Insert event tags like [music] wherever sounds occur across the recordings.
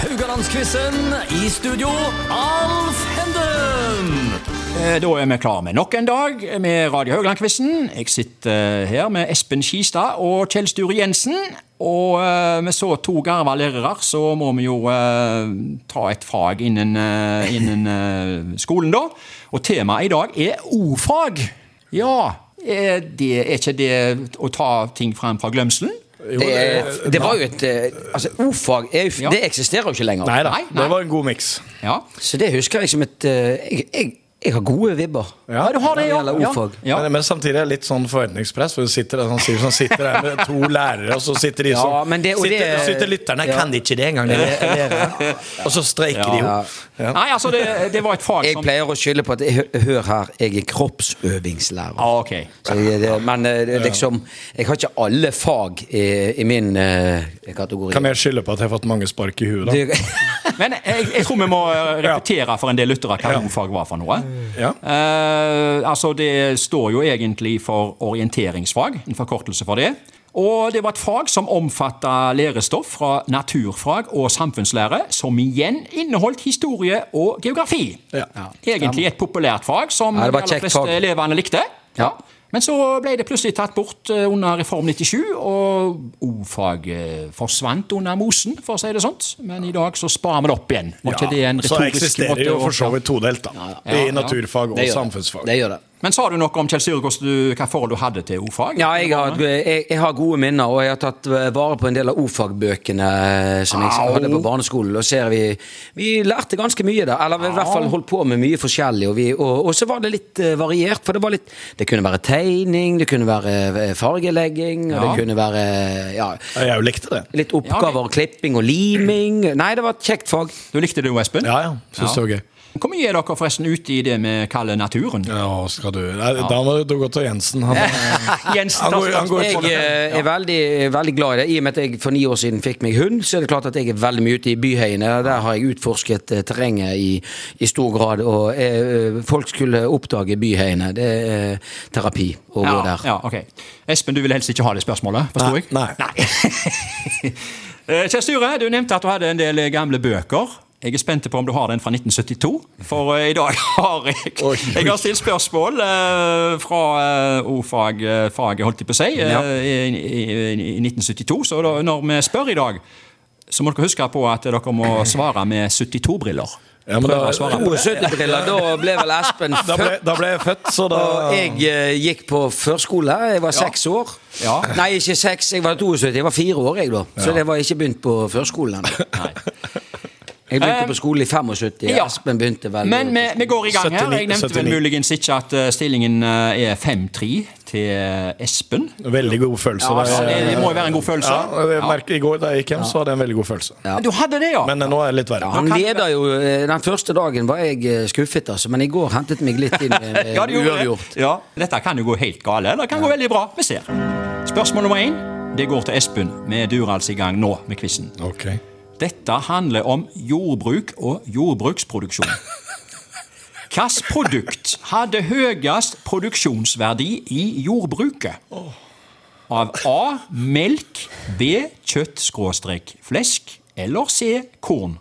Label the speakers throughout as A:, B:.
A: Haugalandsquizen. I studio, Alf Henden.
B: Eh, Da er vi klare med nok en dag med Radio Haugland-quizen. Jeg sitter eh, her med Espen Skistad og Kjell Sture Jensen. Og eh, med så to garva lærere, så må vi jo eh, ta et fag innen, eh, innen eh, skolen, da. Og temaet i dag er ordfag. Ja, er, det, er ikke det å ta ting frem fra glemselen?
C: Det, er- det var jo et eh, Altså, ordfag er, jo-
B: Ja.
C: det eksisterer jo ikke lenger.
D: Nei da,
B: Nei, nei.
D: det var en god miks.
B: Ja.
C: Så det husker jeg som et eh, Jeg, jeg, jeg har gode vibber.
B: Ja, du har det, ja.
C: Når det gjelder ordfag.
B: Ja. Ja.
D: Men, men samtidig er det litt sånn forventningspress. For du sitter der, sånn, sier, sånn, sitter der med to lærere, og så sitter de
C: Ja,
D: sånn
C: men det- og
D: sitter,
C: det-
D: sitter lytterne
C: ja.
D: Kan de ikke det engang? dere- dere?» Og så streiker de jo.
C: Ja.
B: Nei, altså, det, det var et fag
C: Jeg
B: som
C: pleier å skylde på at jeg, hø- Hør her, jeg er kroppsøvingslærer.
B: ah, ok.
C: Så jeg, det, men eh, det er liksom Jeg har ikke alle fag i, i min eh, kategori.
D: Kan jeg skylde på at jeg har fått mange spark i huet, da?
C: Du-
B: Men jeg, jeg tror vi må eh, repetere for en del lyttere hva ordfag var for noe.
D: Ja.
B: Eh, altså Det står jo egentlig for orienteringsfag, en forkortelse for det. Og det var et fag som omfatta lærestoff fra naturfag og samfunnslære, som igjen inneholdt historie og geografi.
D: Ja.
B: Egentlig et populært fag som
C: Ja, det
B: de
C: var et
B: aller
C: kjekt
B: fleste
C: fag.
B: elevene likte.
C: Ja.
B: Men så ble det plutselig tatt bort eh, under Reform 97, og ordfaget forsvant under mosen, for å si det sånt. Men i dag så sparer vi det opp igjen. Var ikke det en
D: så
B: retorisk
D: eksisterer jo
B: å-
D: for så vidt todelt, da.
B: Ja, ja.
D: I naturfag og
C: Det gjør det.
D: samfunnsfag.
C: Det gjør det.
B: Men sa du noe om Kjell Sture, hvordan du- hva forhold du hadde til ordfag?
C: Ja, jeg har, jeg, jeg har gode minner, og jeg har tatt vare på en del av ordfagbøkene som jeg hadde på barneskolen. Og ser vi, vi lærte ganske mye da, eller vi i hvert fall holdt på med mye forskjellig. Og, vi, og, og så var det litt eh, variert, for det var litt Det kunne være tegning, det kunne være eh, fargelegging, og
B: Ja.
C: det kunne være eh, ja,
D: Ja, Jeg jo likte det.
C: litt oppgaver, klipping og liming. Nei, det var et kjekt fag.
B: Du likte det jo, Espen?
D: Ja, ja. Syns det var gøy.
B: Hvor mye er dere forresten ute i det vi kaller naturen?
D: Ja, skal du Nei, Da må du gå til Jensen. Han,
B: Jensen,
D: han går, han går
C: Jeg
D: for
C: eh, er veldig, eh, veldig glad i det. I og med at jeg for ni år siden fikk meg hund, så er det klart at jeg er veldig mye ute i byheiene. Der har jeg utforsket eh, terrenget i, i stor grad. Og eh, folk skulle oppdage byheiene. Det er eh, terapi å gå
B: Ja,
C: der.
B: ja, ok. Espen, du ville helst ikke ha det spørsmålet, forsto
D: Nei,
B: jeg?
D: nei.
B: Eh, Kjell Sture, du nevnte at du hadde en del eh, gamle bøker. Jeg er spent på om du har den fra 1972, for eh, i dag [laughs] har jeg
D: Oi, oi.
B: Jeg har stilt spørsmål eh, fra eh, ordfag, eh, faget, holdt jeg på å si, eh,
C: Ja.
B: i, i, i- i 1972. Så da, når vi spør i dag, så må dere huske på at dere må svare med 72-briller.
D: Ja, men da-
C: 72-briller, da ble vel Espen
D: Da ble,
C: født.
D: da ble jeg født, så da
C: Og jeg eh, gikk på førskole. Jeg var seks år.
B: Ja.
C: Nei, ikke seks. Jeg var 72. Jeg var fire år, jeg, da. Så det var ikke begynt på førskolen ennå. Jeg begynte på skolen i 75.
B: ja.
C: Espen begynte vel
B: Men vi, vi går i gang her. Jeg
D: 79,
B: nevnte vel
D: 79.
B: muligens ikke at eh, stillingen eh, er 5-3 til eh, Espen.
D: Veldig god følelse.
B: Ja,
D: da.
B: altså, det, det må jo være en god følelse.
D: Ja, jeg merker, I går da jeg gikk hjem, så hadde jeg en veldig god følelse.
C: Ja.
B: Du hadde det, ja?
D: Men eh, nå er det litt verre.
C: Han leder jo eh, Den første dagen var jeg eh, skuffet, altså, men i går hentet meg litt inn eh,
B: [laughs] Ja, det gjorde det.
C: uavgjort.
B: Ja. Dette kan jo gå helt gale, eller det kan gå veldig bra. Vi ser. Spørsmål nummer én det går til Espen. Vi durer altså i gang nå med quizen.
D: Ok.
B: Dette handler om jordbruk og
C: [laughs]
B: jordbruksproduksjon. Hvilket produkt hadde høyest produksjonsverdi i jordbruket? Av A. Melk. B. Kjøtt-flesk. Eller C. Korn.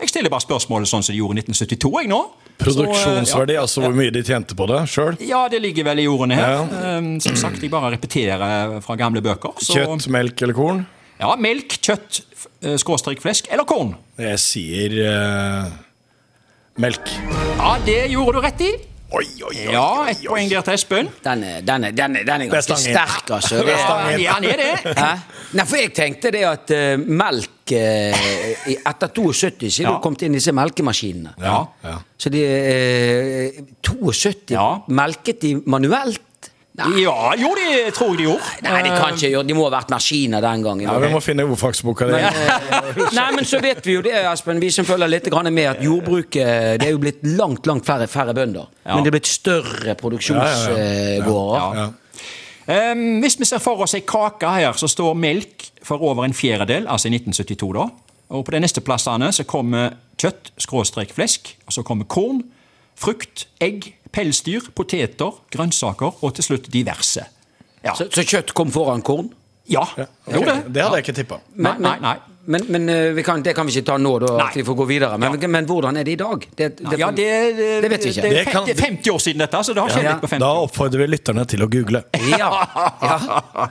B: Jeg stiller bare spørsmålet sånn som de gjorde i 1972. jeg nå. Så, eh,
D: Produksjonsverdi, altså hvor mye de tjente på det sjøl.
B: ja. ja, det ligger vel i ordene her.
D: Ja.
B: Eh, Som sagt, jeg bare repeterer fra gamle bøker. Så,
D: Kjøtt, melk eller korn?
B: Ja, melk, kjøtt-flesk eller korn.
D: Jeg sier eh, melk.
B: Ja, det gjorde du rett i.
D: Oi, oi, oi.
B: Ja, ett poeng der til Espen.
C: Den er, den er, den er, den er ganske
D: Vestlangen.
C: sterk,
B: [laughs]
C: altså. Det-
D: Vestlangen.
B: Ja, han er det.
C: Hæ? Nei, for jeg tenkte det at eh, melk eh, i- Etter 72 så er det
B: Ja.
C: jo kommet inn disse melkemaskinene.
B: Ja.
D: Ja.
C: Så de eh, 72
B: Ja.
C: Melket de manuelt? Nei,
B: ja, jo, det tror jeg de gjorde.
C: nei de kan ikke gjøre De må ha vært maskiner den gangen.
D: Ja, vi må finne ordfagsboka di.
C: [laughs] Nei, men så vet vi jo det, Espen, vi som følger litt grann med, at jordbruket Det er jo blitt langt, langt færre, færre bønder.
B: Ja.
C: Men det er blitt større
D: Ja,
C: produksjonsgårder. Eh,
B: Ja. Ehm, hvis vi ser for oss ei kake her, så står melk for over en fjerdedel, altså i 1972, da. Og på de neste plassene så kommer kjøtt, skråstrek flesk, og så kommer korn, frukt, egg, pelsdyr, poteter, grønnsaker og til slutt diverse. Ja.
C: Så, så kjøtt kom foran korn?
B: ja. Jo, det.
D: Det hadde jeg ikke tippa.
B: Nei, nei, nei.
C: Men, men eh, vi kan, det kan vi ikke ta nå, da,
B: Nei.
C: at vi får gå videre. Men, men hvordan er det i dag? Det, det,
B: Ja, det,
C: det vet vi ikke.
B: Det
D: Det
B: er,
D: kan-
B: 50, det er 50 år siden dette, så det har skjedd
C: Ja.
B: litt på 50
D: Da oppfordrer vi lytterne til å google.
C: Ja, ja.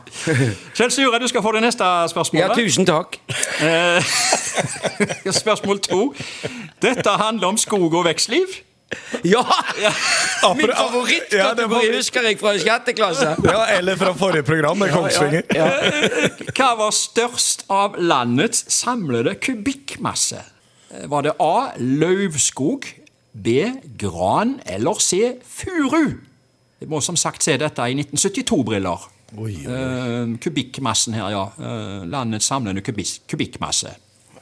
B: Kjell Sture, du skal få det neste spørsmålet.
C: ja, tusen takk.
B: Eh, [laughs] Spørsmål to. Dette handler om skog og vekstliv.
C: Ja!
D: Apro-
C: Min favoritt
D: Ja, det var-
C: husker jeg fra sjette klasse.
D: Ja, eller fra forrige program med Kongsvinger.
B: Hva var størst av landets samlede kubikkmasse? Eh, Var det A. Løvskog, B. Gran eller C. Furu? Jeg må som sagt se dette i 1972-briller.
D: Oi,
B: Eh, kubikkmassen her, ja. Eh, landets samlende kubis- kubikkmasse.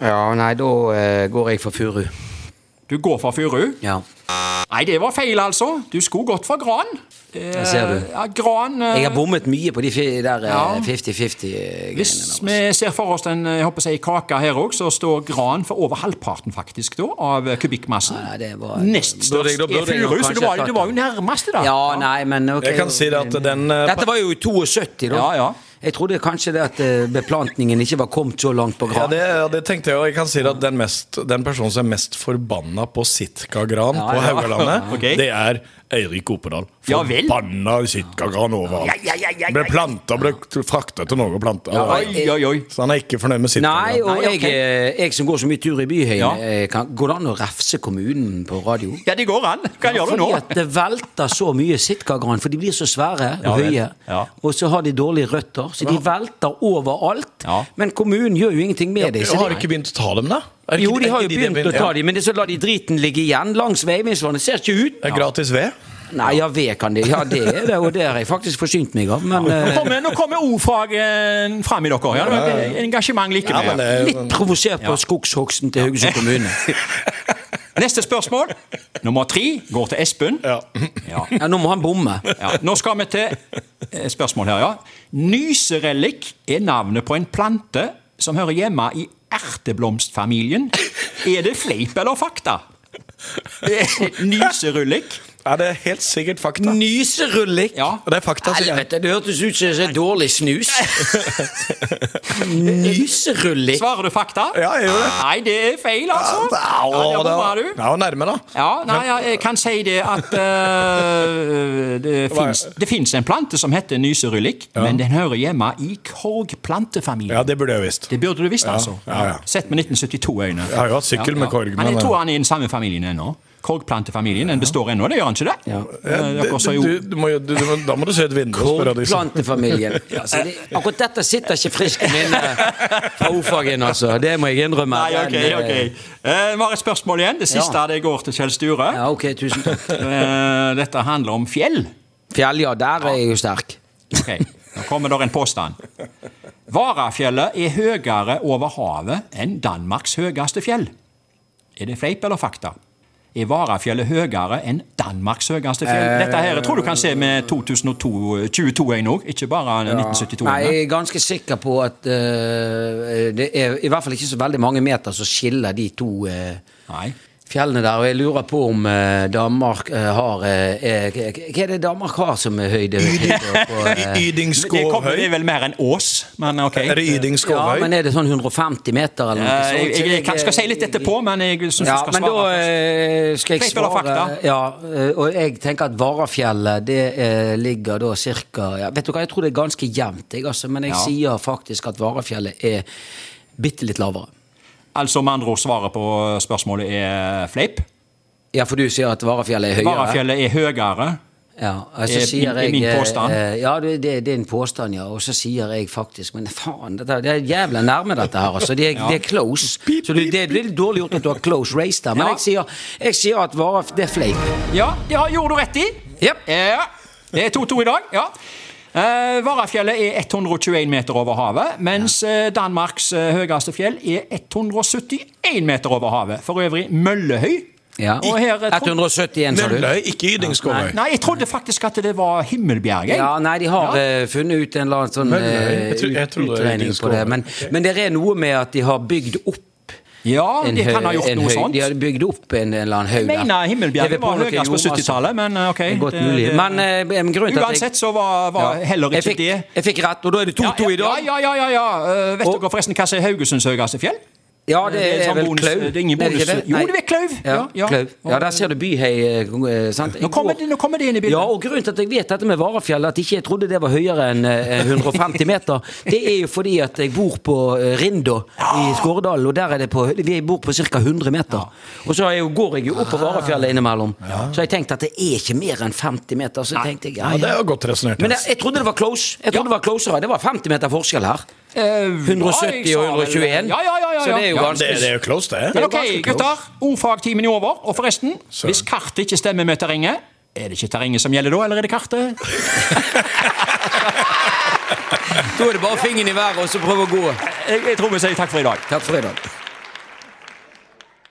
C: Ja, nei, da eh, går jeg for furu.
B: Du går for furu?
C: Ja.
B: Nei, det var feil, altså. Du skulle gått for gran.
C: Jeg ser det.
B: Ja, gran eh,
C: Jeg har bommet mye på de fi- der eh,
B: Ja.
C: 50-50-greiene.
B: Hvis
C: der,
B: vi ser for oss den jeg håper å si, kaka her òg, så står gran for over halvparten faktisk da, av kubikkmassen.
C: Nei, det var-
B: Nest
C: Burde jeg-
B: størst
C: da burde
B: er
C: jeg nok
B: furu, så du
C: kanskje
B: var,
C: tatt
B: du var jo nærmest i dag.
C: Ja, nei, men ok.
D: Jeg kan si det at den, eh,
C: Dette var jo i 72, da.
B: Ja, ja.
C: Jeg trodde kanskje det at eh, beplantningen ikke var kommet så langt på
D: Ja,
C: grad.
D: det, ja, det tenkte jeg og Jeg kan si at den, mest, den personen som er mest forbanna på Sitkagran
C: Ja,
D: på
C: ja.
D: Haugalandet,
C: [laughs]
B: Ok.
D: det er Eirik Opedal.
B: Ja vel.
D: Forbanna Sitkagran overalt.
C: Ja, ja, ja, ja, ja.
D: Ble planta, ble frakta til Norge og planta.
B: Oi, oi, oi.
D: Så han er ikke fornøyd med
C: Nei,
D: Sitkagran.
C: og
B: Nei, ok.
C: jeg, eh, jeg som går så mye tur i byhøyden,
B: Ja.
C: eh, kan, går det an å refse kommunen på radio?
B: Ja, det går an. Hva gjør du nå?
C: Fordi at det velter så mye sitkagran, for de blir så svære og
B: Ja vel,
C: høye.
B: ja.
C: Og så har de dårlige røtter, så de velter overalt.
B: Ja.
C: Men kommunen gjør jo ingenting med det. så
D: Har
C: det-
D: de ikke begynt å ta dem, da? Er det
C: Jo,
D: ikke-
C: de
D: er
C: har jo
D: ikke det
C: begynt å
D: begynner-
C: ta
D: Ja.
C: dem, men det- så lar de driten ligge igjen langs Veivindsvannet. Ser ikke ut.
D: Det er gratis ved.
C: Nei, ja, ved kan de. Ja, det er det, og det har jeg faktisk forsynt meg av. Men
B: Nå
C: eh,
B: kommer, nå kommer ordfagen fram i dere. Ja, det var engasjement
D: Ja, men
B: likevel.
D: det er jo
C: litt provosert på skogshogsten til
D: [laughs]
C: Haugesund kommune.
B: Neste spørsmål, nummer tre, går til Espen.
D: ja.
B: Ja.
C: Ja, nå må han bomme.
B: Ja, nå skal vi til eh, spørsmål her, ja. Nyserellik er navnet på en plante som hører hjemme i erteblomstfamilien. Er det fleip eller fakta? Nyserullik?
D: Ja, det er helt sikkert fakta.
C: Nyserullik.
B: Ja.
D: Det er fakta, sier jeg.
C: Helvete, det hørtes ut som en dårlig
D: [laughs]
C: snus. Nyserullik.
B: Svarer du fakta?
D: Ja, jeg gjør det.
B: Nei, det er feil, altså. Ja,
D: det
B: der bomma
D: var-
B: du.
D: det var nærme, da.
B: Ja, nei, ja, jeg kan si det at eh, det fins- Det fins en plante som heter nyserullik, men den hører hjemme i korgplantefamilien.
D: Ja, det burde jeg visst.
B: Det burde du visst, altså.
D: ja, ja.
B: Sett med 1972-øyne.
D: Jeg har jo hatt sykkel med korg,
B: Men jeg
D: men- eh,
B: tror han er i den samme familien ennå. Korgplantefamilien. Den består ennå, det gjør han ikke det? Eh, dere så jo-
D: Du, du må, jo- du, du, må- da må du se et vindu og spørre de som
C: Plantefamilien. Altså, det, akkurat dette sitter ikke friskt i minnet fra ofagen, altså. Det må jeg innrømme.
B: Nei, ok,
C: Den, eh,
B: ok. Eh, Vi har et spørsmål igjen. Det siste
C: Ja.
B: det går til Kjell Sture.
C: Ja, ok, tusen takk.
B: Eh, Dette handler om fjell.
C: Fjell, ja, der er jeg jo sterk.
B: Ok, Nå kommer der en påstand. Varafjellet er høyere over havet enn Danmarks høyeste fjell. Er det fleip eller fakta? Er Varafjellet høyere enn Danmarks høyeste fjell? Dette her jeg tror du kan se med 2022-øyne òg, ikke bare
C: Nei, jeg
B: 1972-øyne.
C: er ganske sikker på at eh, det er i hvert fall ikke så veldig mange meter som skiller de to eh,
B: Nei.
C: fjellene der. Og jeg lurer på om eh, Danmark eh, har eh, eh, Hva er det Danmark har som er høyde?
B: [laughs]
C: høyde på, eh,
B: Det, kommer, det
D: Ydingskovhøy.
B: er vel mer enn ås, men ok.
D: Er det
C: ja,
D: Ydingskovhøy?
C: men er det sånn 150 meter eller
B: Eh,
C: noe sånt?
B: Jeg, jeg, jeg kan- skal si litt etterpå, men jeg syns du
C: Ja,
B: skal
C: men da
B: svare først.
C: eh, skal jeg
B: Fleip eller
C: svare
B: fakta?
C: ja, eh, Og jeg tenker at Varafjellet det eh, ligger da cirka ja, Vet du hva, jeg tror det er ganske jevnt, jeg, altså, men jeg
B: Ja.
C: sier faktisk at Varafjellet er bitte litt lavere.
B: Altså med andre ord, svaret på spørsmålet er fleip.
C: Ja, for du sier at Varafjellet er høyere?
B: Varafjellet er høyere.
C: Ja, og så
B: Er-
C: sier
B: er
C: jeg,
B: Eh, min påstand?
C: eh, Ja, det, det, det er en påstand, ja. Og så sier jeg faktisk Men faen, dette, det er jævla nærme dette her,
B: [laughs]
C: altså. Det er, det er close. Så det, det blir litt dårlig gjort at du har close race der. Men
B: Ja.
C: jeg, sier, jeg sier at Varaf... Det er fleip.
B: Ja, det har- gjorde du rett i.
C: Jep.
B: Ja, det er 2-2 i dag. ja. Eh, Varafjellet er 121 meter over havet, mens eh, Danmarks eh, høyeste fjell er 171 meter over havet. For øvrig møllehøy.
C: Ja.
B: Og her er tro-
C: 171, sa du?
D: Mølløy, ikke Ydingskovhøy.
B: Nei, jeg trodde faktisk at det var Himmelbjerg. jeg.
C: Ja, nei, de har eh, funnet ut en eller annen sånn
D: Mølløy?
C: eh,
D: Jeg tror- jeg
C: ut-
D: tror det er
C: utregning
D: Lindskog.
C: på det. Men, men det er noe med at de har bygd opp
B: Ja,
C: en
B: de kan
C: høy-
B: ha gjort
C: en
B: noe
C: høy-
B: sånt.
C: De har bygd opp en, en eller annen
B: Jeg
C: haug
B: mener
C: Jeg vil
B: Himmelbjerget var
C: påstå
B: høyest på
C: jo, altså.
B: 70-tallet, men eh, ok.
C: Det er godt
B: det-
C: mulig.
B: det-
C: Men eh, men grunnen til at jeg-
B: Uansett så var, var
C: Ja.
B: heller
C: jeg
B: ikke
C: fikk,
B: det
C: Jeg fikk rett, og da er det 2-2 i dag.
B: Ja, ja, ja. ja, ja. Eh, vet
C: Og-
B: dere forresten hva som er Haugesunds høyeste fjell?
C: Ja, det,
B: Det er
C: er
B: sånn
C: vel
B: bonus-
C: Klauv.
B: det er ingen
C: Nei, ikke
B: bonus. Jo,
C: Nei.
B: det er Klauv.
C: Ja,
B: Ja, ja.
C: Klauv. ja, der ser du Byhei. eh, eh, sant?
B: Nå kommer, det, nå kommer det inn i bildet.
C: Ja, og grunnen til at jeg vet dette med Varafjell, at ikke jeg trodde det var høyere enn eh, 150 meter, det er jo fordi at jeg bor på eh, Rindå i Skåredalen, og der er det på, vi bor på ca. 100 meter. Og så har jeg jo, går jeg jo opp på Varafjellet innimellom, så har jeg tenkt at det er ikke mer enn 50 meter. Så tenkte jeg, ja,
D: Ja, det
C: ja.
D: er jo godt resonert.
C: Men jeg,
D: altså.
C: jeg trodde det var close. Jeg trodde det var closere. Det var 50 meter forskjell her.
B: Eh, ja,
C: 170
B: jeg sa
C: og
B: vel-
C: 121.
B: Ja, ja, ja, ja,
C: Så det er jo
B: ja.
D: Ja, det,
C: ganske
D: det er jo close,
B: Men
D: det.
B: ok, gutter. Ordfagtimen er over. Og forresten, hvis kartet ikke stemmer med terrenget, er det ikke terrenget som gjelder da, eller er det kartet?
C: Da er det bare fingeren i været og så prøve å gå.
B: Jeg, jeg tror vi sier takk for i dag.
C: Takk for i dag.